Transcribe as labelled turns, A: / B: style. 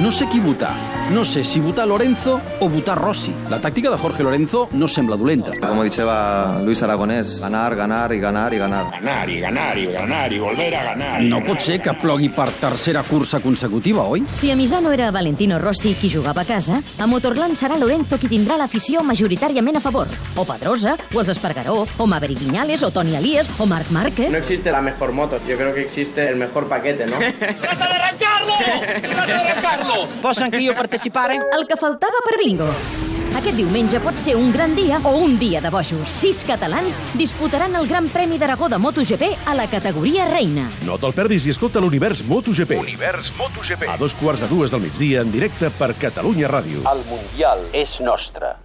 A: No sé qui votar. No sé si votar Lorenzo o votar Rossi. La tàctica de Jorge Lorenzo no sembla dolenta.
B: Como diceva Luis Aragonés, ganar, ganar y ganar y ganar.
C: Ganar y ganar y ganar y volver a ganar. y
A: No pues
C: ganar.
A: pot ser que plogui per tercera cursa consecutiva, oi?
D: Si a Misano era Valentino Rossi qui jugava a casa, a Motorland serà Lorenzo qui tindrà l'afició majoritàriament a favor. O Pedrosa, o els Espargaró, o Maverick Viñales, o Toni Elias, o Marc Márquez.
E: No existe la mejor moto, yo creo que existe el mejor paquete, ¿no?
F: Posso anche io partecipare?
D: El que faltava per bingo. Aquest diumenge pot ser un gran dia o un dia de bojos. Sis catalans disputaran el Gran Premi d'Aragó de MotoGP a la categoria reina.
G: No te'l perdis i escolta l'Univers MotoGP.
H: Univers MotoGP.
G: A dos quarts de dues del migdia en directe per Catalunya Ràdio.
I: El Mundial és nostre.